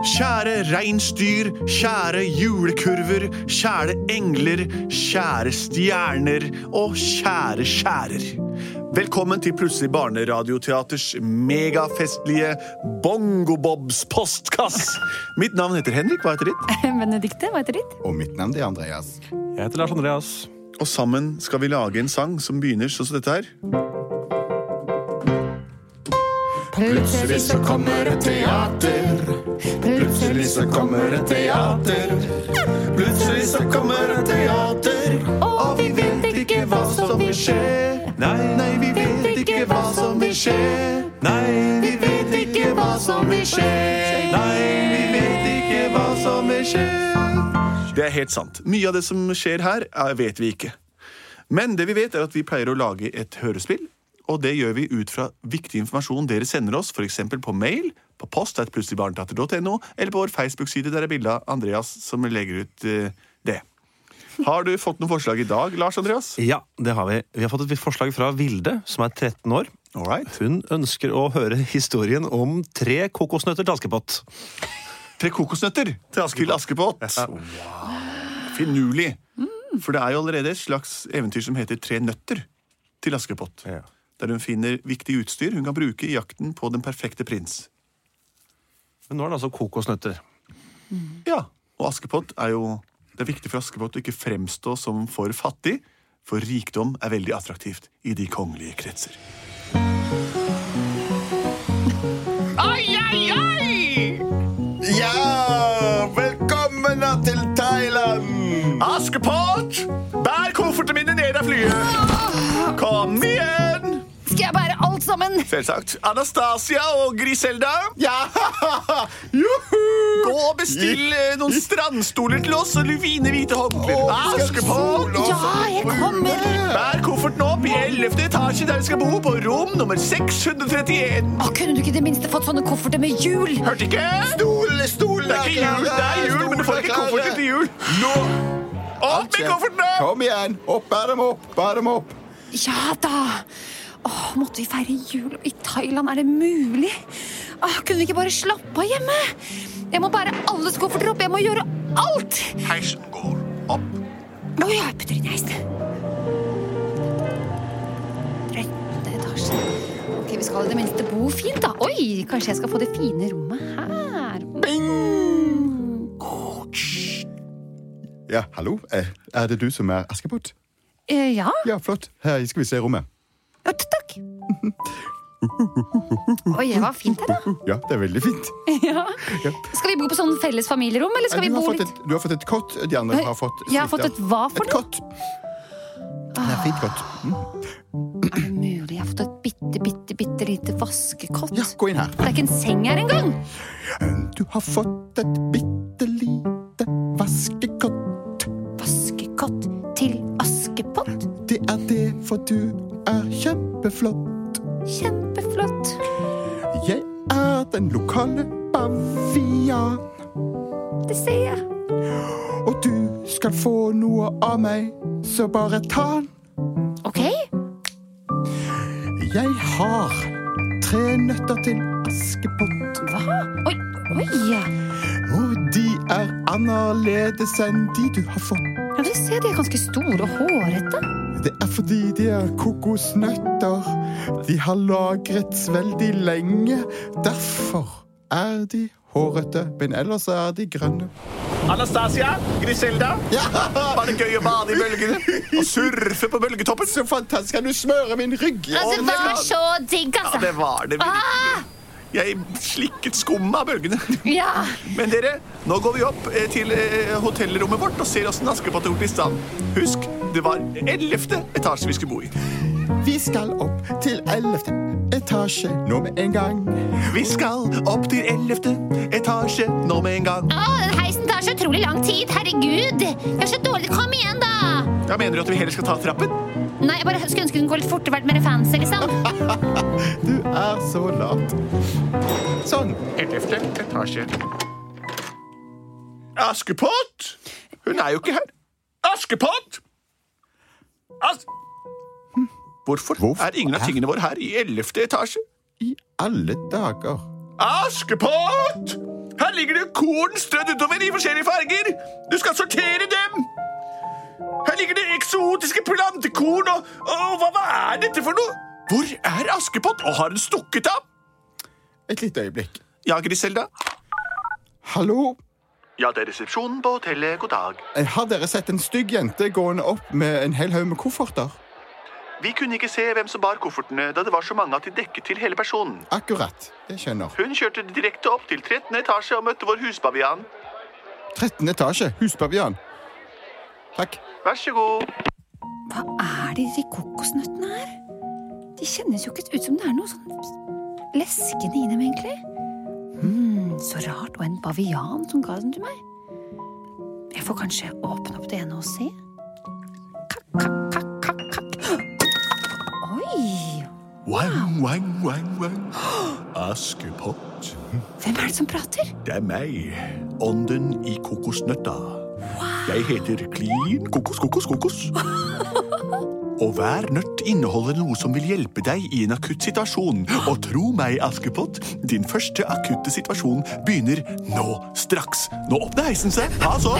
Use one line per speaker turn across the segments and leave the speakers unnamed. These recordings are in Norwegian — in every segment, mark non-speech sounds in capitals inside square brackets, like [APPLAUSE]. Kjære reinsdyr, kjære julekurver, kjære engler, kjære stjerner og kjære skjærer. Velkommen til Plutselig barneradioteaters megafestlige Bongobobs postkass. Mitt navn heter Henrik, hva heter
[LAUGHS]
ditt?
Benedikte, hva heter ditt?
Og mitt navn er Andreas.
Jeg heter Lars Andreas.
Og sammen skal vi lage en sang som begynner sånn som dette her.
Plutselig så kommer et teater. Plutselig så kommer et teater. Plutselig så kommer et teater.
Og vi vet ikke hva som vil skje. Nei, nei, vi vet ikke hva som vil skje. Nei, vi vet ikke hva som vil skje. Nei, vi vet ikke hva som vil skje. Det er helt sant. Mye av det som skjer her, er- vet vi ikke. Men det vi vet, er at vi pleier å lage et hørespill. Og det gjør vi ut fra viktig informasjon dere sender oss, f.eks. på mail, på post at plutseligbarneteater.no, eller på vår Facebook-side, der er bilde av Andreas som legger ut eh, det. Har du fått noen forslag i dag, Lars Andreas?
Ja, det har vi. Vi har fått et forslag fra Vilde, som er 13 år.
All right.
Hun ønsker å høre historien om tre kokosnøtter til Askepott.
Tre kokosnøtter til Askild Askepott. Finurlig. For det er jo allerede et slags eventyr som heter Tre nøtter til Askepott.
Ja.
Der hun finner viktig utstyr hun kan bruke i jakten på den perfekte prins.
Men nå er det altså kokosnøtter.
Ja, Og Askepott er jo Det er viktig for Askepott å ikke fremstå som for fattig, for rikdom er veldig attraktivt i de kongelige kretser.
Oi, oi, oi!
Ja! Velkommen til Thailand!
Askepott! Bær koffertene mine ned av flyet! Kom igjen!
Skal jeg bære alt sammen?
Selvsagt. Anastasia og Griselda.
Ja! Juhu!
Gå og bestill eh, noen strandstoler til oss og fine hvite håndklær. Ah, Askepott!
Ja, jeg kommer!
Bær kofferten opp i 11. etasje der vi skal bo, på rom nummer 631.
Å, kunne du ikke i det minste fått sånne kofferter med hjul?
Hørte ikke?
Stol, stol,
Det er ikke jul, det er jul, men du får ikke kofferten til jul.
Nå!
Opp med koffertene!
Kom igjen! Opp, bær dem opp! Bær dem opp!
Ja da! Å, måtte vi feire jul i Thailand? Er det mulig? Å, kunne vi ikke bare slappe av hjemme? Jeg må bære alles kofferter opp. Jeg må gjøre alt!
Heisen går opp.
Å ja, jeg putter inn i heisen. Trettende etasje. Ok, Vi skal i det minste bo fint, da. Oi, kanskje jeg skal få det fine rommet her.
Ja, hallo? Eh, Er det du som er Askepott?
Eh, ja.
Ja, flott. Her skal vi se rommet.
Ja, t- takk. Oi, det var fint her, da.
Ja, det er veldig fint.
[LAUGHS] Ja. Skal vi bo på sånn felles familierom, eller skal
Eh,
vi
Du har
bo
fått
litt
et, du har fått et kott. De andre
Nei,
har fått
jeg har fått
suite.
et hva for
Et
noe?
kott. Det er fint kott. Mm.
Er det mulig? Jeg har fått et bitte, bitte, bitte lite vaskekott.
Ja, gå inn her.
Det er ikke en seng her engang!
Du har fått et bitte lite vaskekott.
Vaskekott til Askepott.
Det er det, for du er kjempeflott.
Kjempeflott.
Jeg er den lokale bavian,
Det ser jeg.
og du skal få noe av meg, så bare ta den.
Ok,
Jeg har tre nøtter til Askepott,
hva? Oi, oi!
og de er annerledes enn de du har fått.
Ja, du ser, de er ganske store og hårete.
Det er fordi de er kokosnøtter. De har lagrets veldig lenge. Derfor er de hårete, men ellers er de grønne.
Anastasia, Griselda, var det gøy å bade i bølgene? Og surfe på bølgetoppen?
Så fantastisk! Kan du smøre min rygg?
Altså, det var så digg,
Ja, det
altså!
var det
Ah!
virkelig. Jeg slikket skummet av bølgene.
Ja,
Men dere, nå går vi opp eh, til eh, hotellrommet vårt og ser åssen Askepott har gjort i stand. Husk, det var 11. etasje vi skulle bo i.
Vi skal opp til 11. etasje nå med en gang.
Vi skal opp til 11. etasje nå med en gang.
Å, den heisen tar så utrolig lang tid. Herregud! Jeg er så dårlig. Kom igjen, da!
Ja, Mener du at vi heller skal ta trappen?
Nei, jeg bare skulle ønske den går litt fortere, vært mer fancy, liksom.
Du er så lat. Sånn.
11. etasje. Askepott! Hun er jo ikke her. Askepott! As... Hvorfor,
Hvorfor
er ingen av
er-
tingene våre her i 11. etasje?
I alle dager.
Askepott! Her ligger det korn strødd utover i forskjellige farger. Du skal sortere dem. Her ligger det eksotiske plantekorn og, og hva, hva er dette for noe? Hvor er Askepott, og har hun stukket av?
Et lite øyeblikk.
Ja, Griselda.
Hallo? Eh,
Ja, det er resepsjonen på hotellet. God dag.
Har dere sett en stygg jente gående opp med en hel haug med kofferter?
Vi kunne ikke se hvem som bar koffertene, da det var så mange at de dekket til hele personen.
Akkurat. Det skjønner.
Hun kjørte direkte opp til 13. etasje og møtte vår husbavian.
13. etasje. Huspavian. Takk.
Vær så god.
Hva er det i de kokosnøttene her? De kjennes jo ikke ut som det er noe sånn leskende i dem, egentlig. Hmm, så rart. Og en bavian som ga den til meg. Jeg får kanskje åpne opp det ene og se. Kakk, kakk, kakk, kakk, kakk. Oi!
Wang, wang, wang, wang. [GASPS] Askepott,
Hvem er det som prater?
det er meg. Ånden i kokosnøtta. Jeg heter Klin kokos, kokos, kokos. Og hver nøtt inneholder noe som vil hjelpe deg i en akutt situasjon. Og tro meg, Askepott, din første akutte situasjon begynner nå straks. Nå åpner heisen seg. Ha så.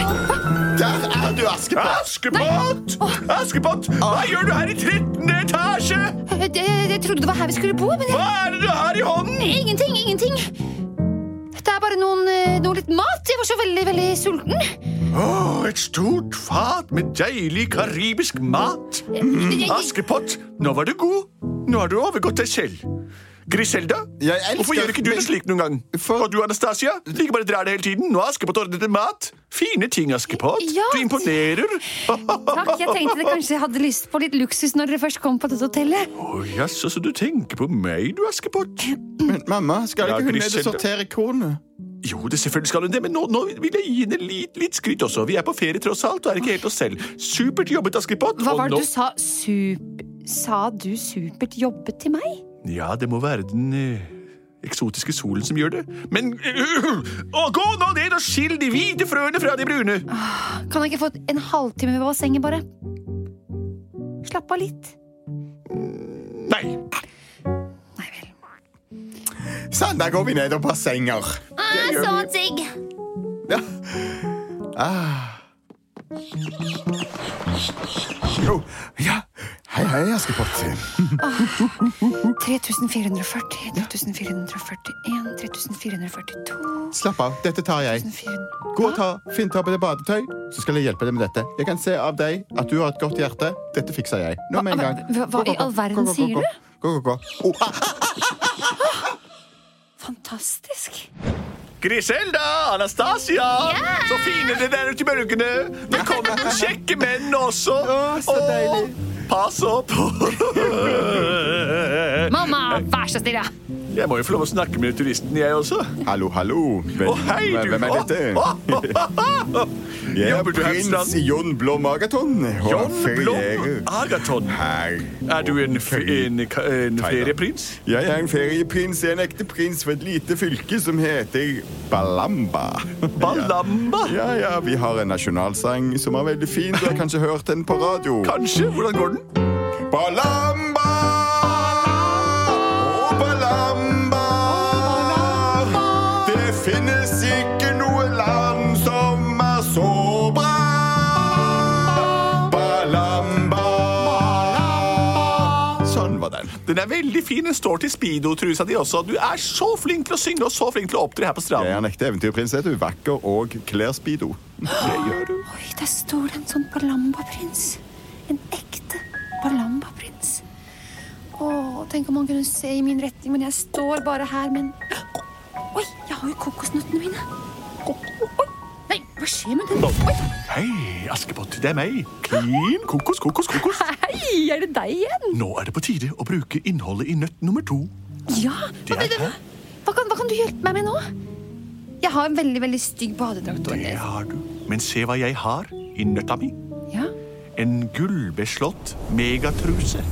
Der er du, Askepott!
Askepott! Askepott, hva gjør du her i 13. etasje?
Jeg, Eh, jeg, jeg trodde det var her vi skulle bo, men jeg,
Hva er det du har i hånden?
ingenting, ingenting. Dette er bare noen, eh, noe litt mat. Jeg var så veldig, veldig sulten.
Å, et stort fat med deilig karibisk mat. Askepott, nå var du god. Nå har du overgått deg selv. Griselda,
Jeg elsker
hvorfor gjør ikke du det
meg-
slik noen gang?
For-
Og du, Anastasia, like bare drar det hele tiden. Nå har Askepott ordnet deg mat. Fine ting, Askepott.
Ja.
Du imponerer. Å,
Takk, jeg tenkte dere kanskje hadde lyst på litt luksus når dere først kom på dette hotellet.
jaså, så du tenker på meg, du, Askepott.
Men mamma, skal
Ja,
ikke hun ned
Griselda.
og sortere kornet?
Jo, det selvfølgelig skal hun det, men nå, nå vil jeg gi henne litt, litt skryt også. Vi er på ferie tross alt og er ikke helt oss selv. Supert jobbet, Askepott.
Hva
og
var
nå-
det du sa? Sup... Sa du supert jobbet til meg?
Ja, det må være den eh, eksotiske solen som gjør det. Men eh, øh, Å, gå nå ned og skill de hvite frøene fra de brune!
Kan jeg ikke få en halvtime ved bassenget, bare? Slapp av litt.
Nei.
Nei vel.
Sånn, da går vi ned og bassenger.
Ah, så digg!
Ja. Ah. Jo, ja. Hei, hei, Askepott.
3440, 3441, 3442
Slapp av, dette tar jeg. Gå og ta, Finn ta på deg badetøy, så skal jeg hjelpe deg med dette. Jeg kan se av deg at du har et godt hjerte. Dette fikser jeg. Nå med en gang.
Hva- hva- hva
Gå, gå,
i all
gå.
verden
Gå, gå, gå,
sier
gå.
du?
Gå, gå, gå. Oh, ah,
Fantastisk.
Griselda! Anastasia! Så fine dere er ute i bølgene! Velkommen til kjekke menn også!
Å, så
Og
deilig.
Pass opp!
Mamma, vær så snill, da!
Jeg må jo få lov å snakke med turisten, jeg også.
hallo, hallo. Hvem,
Å, hei, du!
hvem er dette? Jeg er
Jobber du her i
prins
staden?
Jon Blåmagaton. og
John
ferierer
Blom Agaton.
Her.
Er du en, fe- en, ka- en ferieprins?
Jeg er en ferieprins, jeg er en ekte prins for et lite fylke som heter Balamba.
Balamba?
Ja, ja, vi har en nasjonalsang som er veldig fin. Du har kanskje hørt den på radio.
Kanskje. Hvordan går den?
Balamba! Å, Balamba! Det finnes ikke noe land som er så bra. Balamba! Sånn var den.
Den er veldig fin. Den står til speedo-trusa di også. Du er så flink til å synge og så flink til å opptre her på
Jeg
stranden.
er en ekte eventyrprins, heter du. Vakker og kler speedo.
Oi, der står det en sånn Balamba-prins. En ekte Balamba-prins. Å, tenk om han kunne se i min retning, men jeg står bare her med en Oi, jeg har jo kokosnøttene mine. Oi, nei, hva skjer med den? Oi,
Hei, Askepott. Det er meg. Klin kokos, kokos, kokos.
hei, er det deg igjen?
Nå er det på tide å bruke innholdet i nøtt nummer to.
Ja. Hva,
Det er
hva,
jeg.
hva, kan, hva kan du hjelpe meg med nå? Jeg har en veldig, veldig stygg badedrakt.
Det
Ole.
har du. Men se hva jeg har i nøtta mi.
Ja.
En gullbeslått megatruse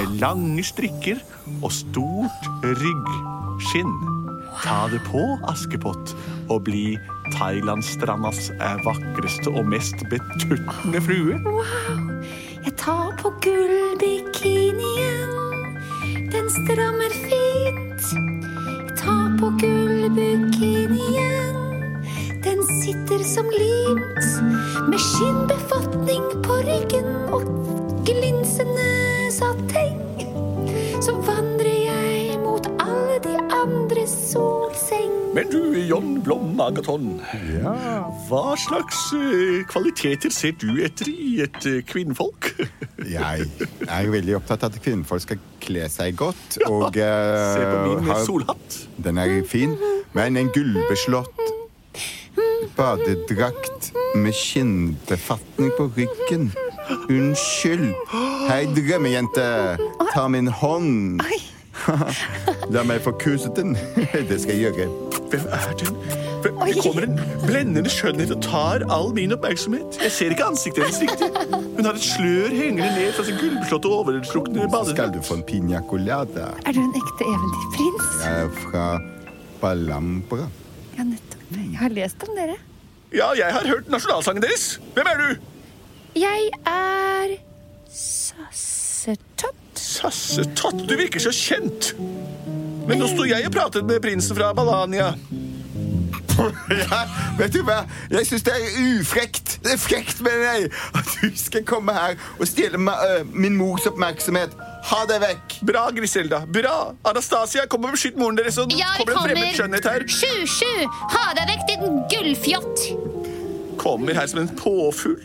med lange strikker og stort ryggskinn. Ta det på, Askepott, og bli Thailandstrandas eh, vakreste og mest betuttende frue.
Jeg tar på gullbikinien, den strammer fint. Jeg tar på gullbikinien, som limt, med skinnbefatning på ryggen og glinsende sateng. Så vandrer jeg mot alle de andres solseng.
Men du, John Blom Agaton, hva slags eh, kvaliteter ser du etter i et eh, kvinnfolk? [LAUGHS]
Jeg er jo veldig opptatt av at kvinnfolk skal kle seg godt. Og
Se på
eh,
min
ha-
solhatt.
Den er fin, men en gullbeslått badedrakt med skinnbefatning på ryggen. Unnskyld. Hei, drømmejente. Ta min hånd.
Oi,
[LAUGHS] La meg få kuse den. Det skal jeg gjøre.
Hvem er den? Hvem,
Oi.
det kommer en blendende skjønnhet og tar all min oppmerksomhet. Jeg ser ikke ansiktet hennes riktig. Hun har et slør hengende ned fra sin gullbeslåtte og overstrukne
Så skal du
badedrakt.
få en piña colada.
er du en ekte eventyrprins?
Jeg er fra Balambra.
Ja, nettopp. Jeg har lest om dere.
Ja, jeg har hørt nasjonalsangen deres. Hvem er du?
Jeg er Sassetott.
Sassetott, du virker så kjent. Men nå sto jeg og pratet med prinsen fra Balania.
[LAUGHS] Ja, vet du hva? Jeg syns det er ufrekt. Det er frekt med deg at du skal komme her og stjele ma- øh, min mors oppmerksomhet. Ha deg vekk.
Bra, Griselda. Bra. Anastasia, kom og beskytt moren deres. Og
Ja, vi
kommer en fremmed skjønnhet her.
kommer. Sju, sju! Ha deg vekk, din gullfjott!
Kommer her som en påfugl.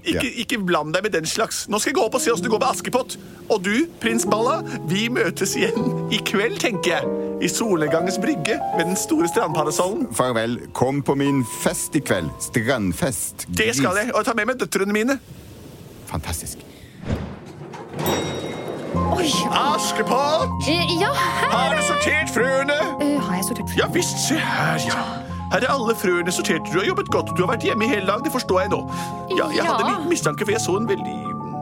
Ikke,
Ja.
ikke bland deg med den slags. Nå skal jeg gå opp og se åssen det går med Askepott. Og du, prins Balla, vi møtes igjen i kveld, tenker jeg. I solnedgangens brygge med den store strandparasollen.
Farvel. Kom på min fest i kveld. Strandfest.
Det skal jeg. Og jeg tar med meg døtrene mine.
Fantastisk.
Oi!
Askepott!
eh, Ja, her!
Har du sortert frøene?
Eh, har jeg sortert
Ja visst, se her, ja. Her er alle frøene sortert. Du har jobbet godt. Du har vært hjemme i hele dag, det forstår jeg nå. Ja, jeg hadde en
Ja.
liten mistanke, for jeg så en veldig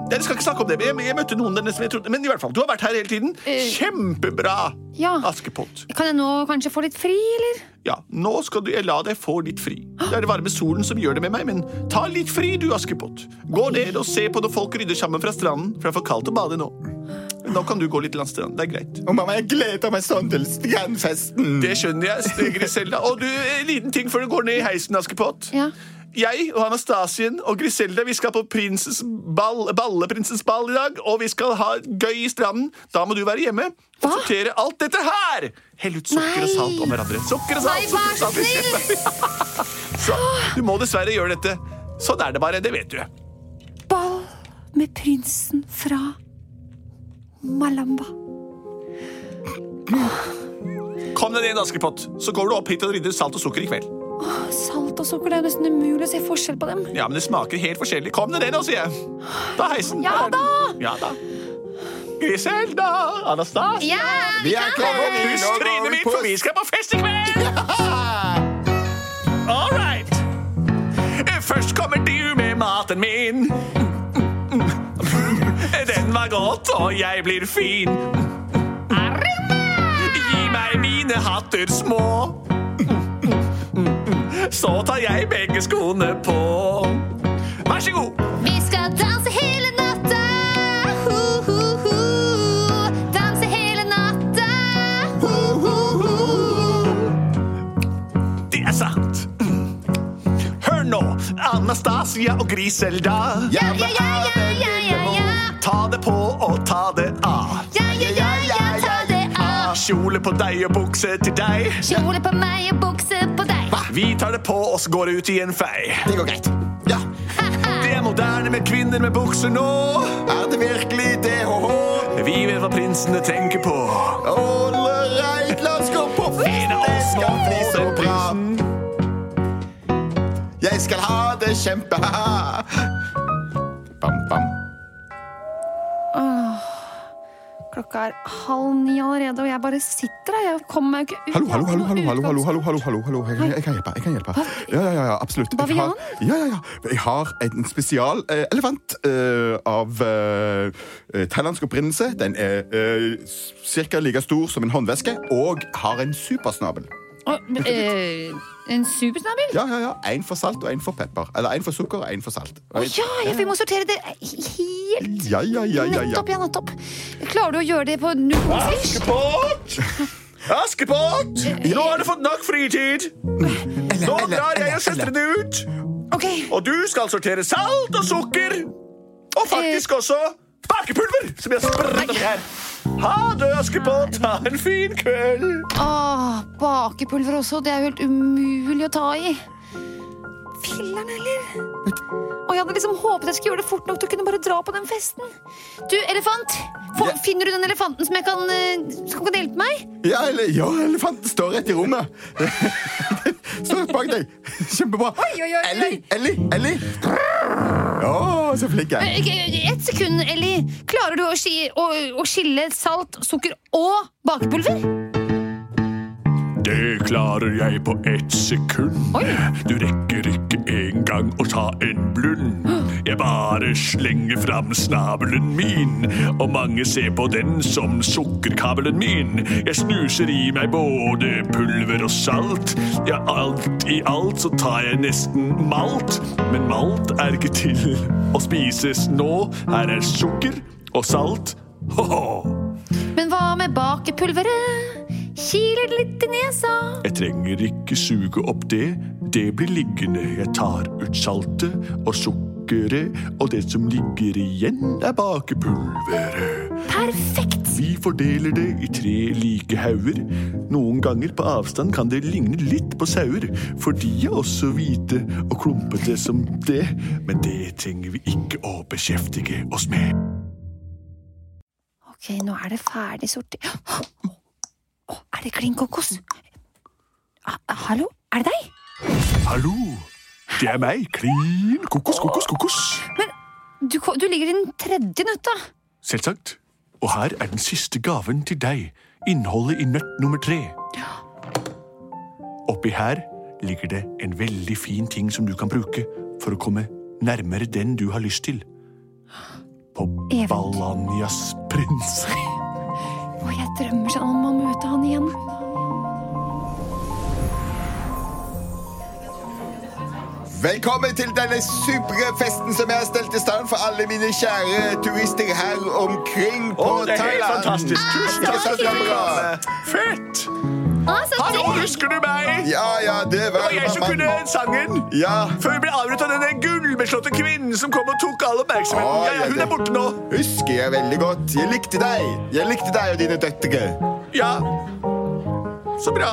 Nei, Jeg skal ikke snakke om det, men jeg, jeg møtte noen der nede som jeg trodde Men i hvert fall, du har vært her hele tiden. Kjempebra,
Ja.
Askepott.
Kan jeg nå kanskje få litt fri, eller?
Ja, nå skal du jeg la deg få litt fri. Det er det varme solen som gjør det med meg, men ta litt fri, du, Askepott. Gå ned og se på når folk rydder sammen fra stranden, for det er for kaldt å bade nå. Men nå kan du gå litt langs stranden. Det er greit.
Å, mamma, jeg gleder meg sånn til strandfesten.
Det skjønner jeg, Griselda. Og du, en liten ting før du går ned i heisen, Askepott.
Ja.
Jeg og Anastasien og Griselda vi skal på prinsens ball, balleprinsens ball i dag, og vi skal ha gøy i stranden. Da må du være hjemme og sortere alt dette her! Hell ut sukker og salt om hverandre. Sukker og salt,
Nei,
sukker og salt.
vær
i kjeften. [LAUGHS] Så, du må dessverre gjøre dette. Sånn er det bare, det vet du.
Ball med prinsen fra Malamba.
Kom deg ned, Askepott, så går du opp hit og rydder salt og sukker i kveld.
Salt og sukker, det er jo nesten umulig å se forskjell på dem.
Ja, men det smaker helt forskjellig. Kom deg ned nå, sier jeg. Ta heisen.
Ja
Der er den. Ja da. Griselda, Anastas.
Ja!
Vi er klare. Vi
Puss
når
trynet
over
mitt,
på-
for vi skal på fest i kveld! All right. Først kommer du med maten min. Den var godt, og jeg blir fin. Gi meg mine hatter små. Så tar jeg begge skoene på. Vær så god.
Vi skal danse hele natta! Ho, ho, ho! Danse hele natta! Ho, ho, ho!
Det er sant. Hør nå, Anastasia og Griselda.
Ja, ja, ja, ja, ja, ja, ja!
Ta det på og ta det av.
Ja, ja, ja, ja, ta det
Ah,
av!
Kjole på deg og bukse til deg.
Kjole på meg og bukse på deg.
Vi tar det på og så går det ut i en fei.
Det går greit. Ja.
Det er moderne med kvinner med bukser nå.
Er det virkelig det? Ho-ho?
Vi vet hva prinsene tenker på.
All right, la oss gå på fest.
En av
Det
oss må
skal bli
få
så
den
bra.
prinsen.
Jeg skal ha det kjempe. Bam, bam.
Klokka er halv ni allerede, og jeg bare sitter her. Jeg kommer meg jo ikke ut.
Hallo, hallo,
Jeg har ikke
hallo, hallo,
noe
hallo, hallo,
utgangs-
hallo, hallo, hallo, hallo. Jeg, kan- jeg kan hjelpe, jeg kan hjelpe. Ja, ja, ja, ja absolutt. Jeg har,
Bavian?
ja, ja, ja. Jeg har en spesial eh, elefant eh, av eh, eh, thailandsk opprinnelse. Den er eh, cirka like stor som en håndveske, og har en supersnabel.
Å, men, eh, en supersnabel?
Ja, ja, ja. En for salt og en for pepper. Eller en for sukker og en for salt.
Å ja, ja, vi må sortere det helt.
Ja, ja, ja, ja, Ah, ja.
Nettopp, ja, nettopp. Klarer du å gjøre det på null komma?
Askepott! Askepott! Nå har du fått nok fritid. Nå drar jeg og jeg setter det ut.
Ok,
Og du skal sortere salt og sukker. Og faktisk også bakepulver, som jeg sprøyter oppi her. Ha det, Askepott. Ha en fin kveld.
Åh, Ah, bakepulver også. Det er jo helt umulig å ta i. Filler'n, eller? Og jeg hadde liksom håpet jeg skulle gjøre det fort nok til å kunne bare dra på den festen. Du, elefant! Få- Finner du den elefanten som jeg kan eh, Som kan hjelpe meg?
Ja, ele ja, elefanten står rett i rommet. [LAUGHS] står rett bak deg. Kjempebra.
Oi, oi, oi, oi.
Ellie, Ellie, Ellie. Å, så flink jeg er.
Eh, eh, Ett sekund, Ellie. Klarer du å, ski, å, å skille salt, sukker og bakepulver?
Det klarer jeg på ett sekund.
Oi.
Du rekker ikke engang å ta en blund. Jeg bare slenger fram snabelen min, og mange ser på den som sukkerkabelen min. Jeg snuser i meg både pulver og salt. Ja, alt i alt så tar jeg nesten malt, men malt er ikke til å spises nå. Her er sukker og salt. Ho-ho!
Men hva med bakepulveret? Kiler det litt i nesa?
Jeg trenger ikke suge opp det. Det blir liggende. Jeg tar ut saltet og sukkeret, og det som ligger igjen, er bakepulveret.
Perfekt!
Vi fordeler det i tre like hauger. Noen ganger på avstand kan det ligne litt på sauer, for de er også hvite og klumpete som det, men det trenger vi ikke å beskjeftige oss med.
Ok, nå er det ferdig sortert. Å, er det klin kokos? Ha- Hallo, er det deg?
Hallo! Det er meg, klin kokos, kokos, kokos.
Du, ko- du ligger i den tredje nøtta.
Selvsagt. Og her er den siste gaven til deg. Innholdet i nøtt nummer tre. Oppi her ligger det en veldig fin ting som du kan bruke for å komme nærmere den du har lyst til. På
Event.
Balanias prins.
Og jeg drømmer sånn om å møte han igjen.
Velkommen til denne supre festen som jeg har stelt i stand for alle mine kjære turister her omkring på
Å, det er helt
Thailand.
fantastisk. Tusen
Ikke
takk for
sant,
at
det er
du
bra?
kom. Fett!
Å, så
Hallo,
digg!
husker du meg?
Ja, ja, det
Det
var
var jeg som kunne sangen.
Ja.
Før vi ble avbrutt av denne gullbeslåtte kvinnen som kom og tok all oppmerksomheten.
Å,
Ja, ja,
ja,
hun er
det-
borte nå.
Husker jeg veldig godt. Jeg likte deg. Jeg likte deg og dine døtre.
Ja. Så bra.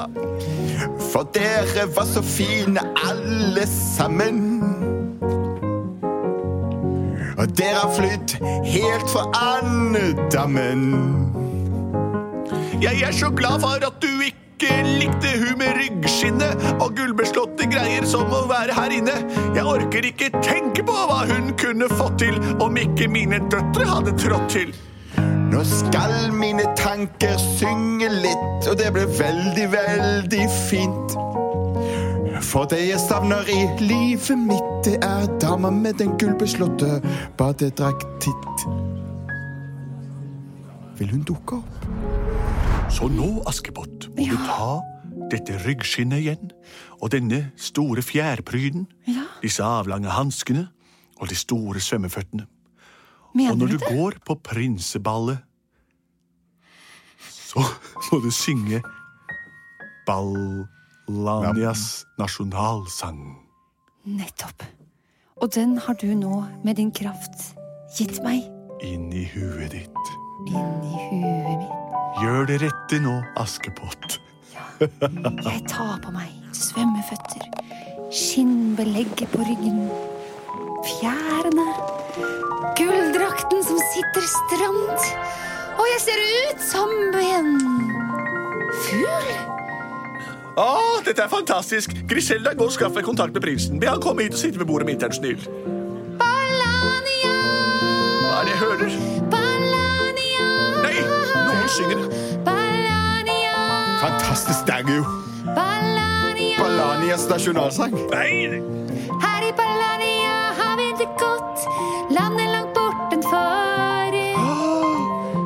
For dere var så fine alle sammen. Og dere har flydd helt fra andedammen.
Jeg er så glad for at du ikke likte hun med ryggskinnet og gullbeslåtte greier som å være her inne. Jeg orker ikke tenke på hva hun kunne fått til om ikke mine døtre hadde trådt til.
Nå skal mine tanker synge litt, og det blir veldig, veldig fint. For det jeg savner i livet mitt, det er dama med den gullbeslåtte badedraktitt. Vil hun dukke opp?
Så nå, Askepott, må du ta dette ryggskinnet igjen og denne store fjærpryden,
Ja.
disse avlange hanskene og de store svømmeføttene. Og
Mener
når
du
du
det?
går på prinseballet, så [LAUGHS] må du synge Ballanias nasjonalsang.
Nettopp. Og den har du nå, med din kraft, gitt meg
Inn i huet ditt.
inni huet mitt.
Gjør det rette nå, Askepott.
Jeg tar på meg svømmeføtter, skinnbelegget på ryggen, fjærene, gulldrakten som sitter stramt, og jeg ser ut som en fugl.
Å, dette er fantastisk! Griselda, gå og skaff deg kontakt med prinsen. Be han komme hit og sitte ved bordet mitt, er du snill.
Balania,
Hva er det jeg hører?
Balania,
Nei, noen synger.
Balania,
Fantastisk, det er jo
Balania.
Balanias nasjonalsang.
Nei!
Her i Balania har vi det godt. Landet langt bortenfor.
Ah.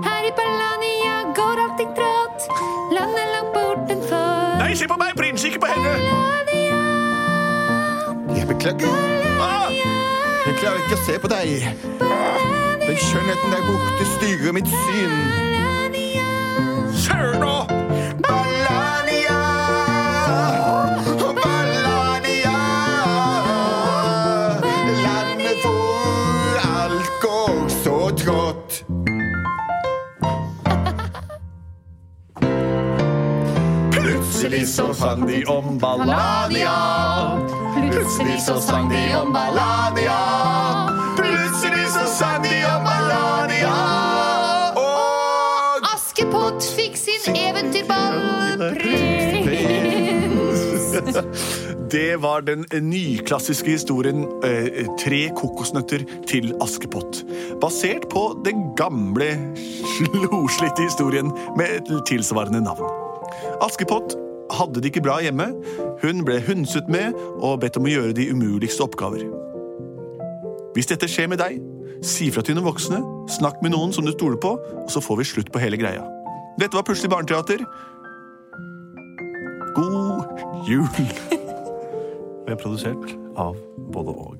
Her i Balania går allting trått. Landet langt bortenfor.
Nei, se på meg, prins, ikke på henne!
Balania,
Jeg beklager.
Ah,
Jeg klarer ikke å se på deg. Den skjønnheten der borte styrer mitt syn.
Søren nå!
Ballania, Ballania, så sang de om Ballania. Plutselig så sang de om Ballania. Plutselig så sang de om Ballania. Og
Askepott fikk sin eventyrballeprins.
Det var den nyklassiske historien eh, Tre kokosnøtter til Askepott. Basert på den gamle, loslitte historien med et tilsvarende navn. Askepott hadde det ikke bra hjemme. Hun ble hundset med og bedt om å gjøre de umuligste oppgaver. Hvis dette skjer med deg, si fra til noen voksne, snakk med noen som du stoler på, og så får vi slutt på hele greia. Dette var Plutselig barneteater. God jul!
Vi er produsert av både og.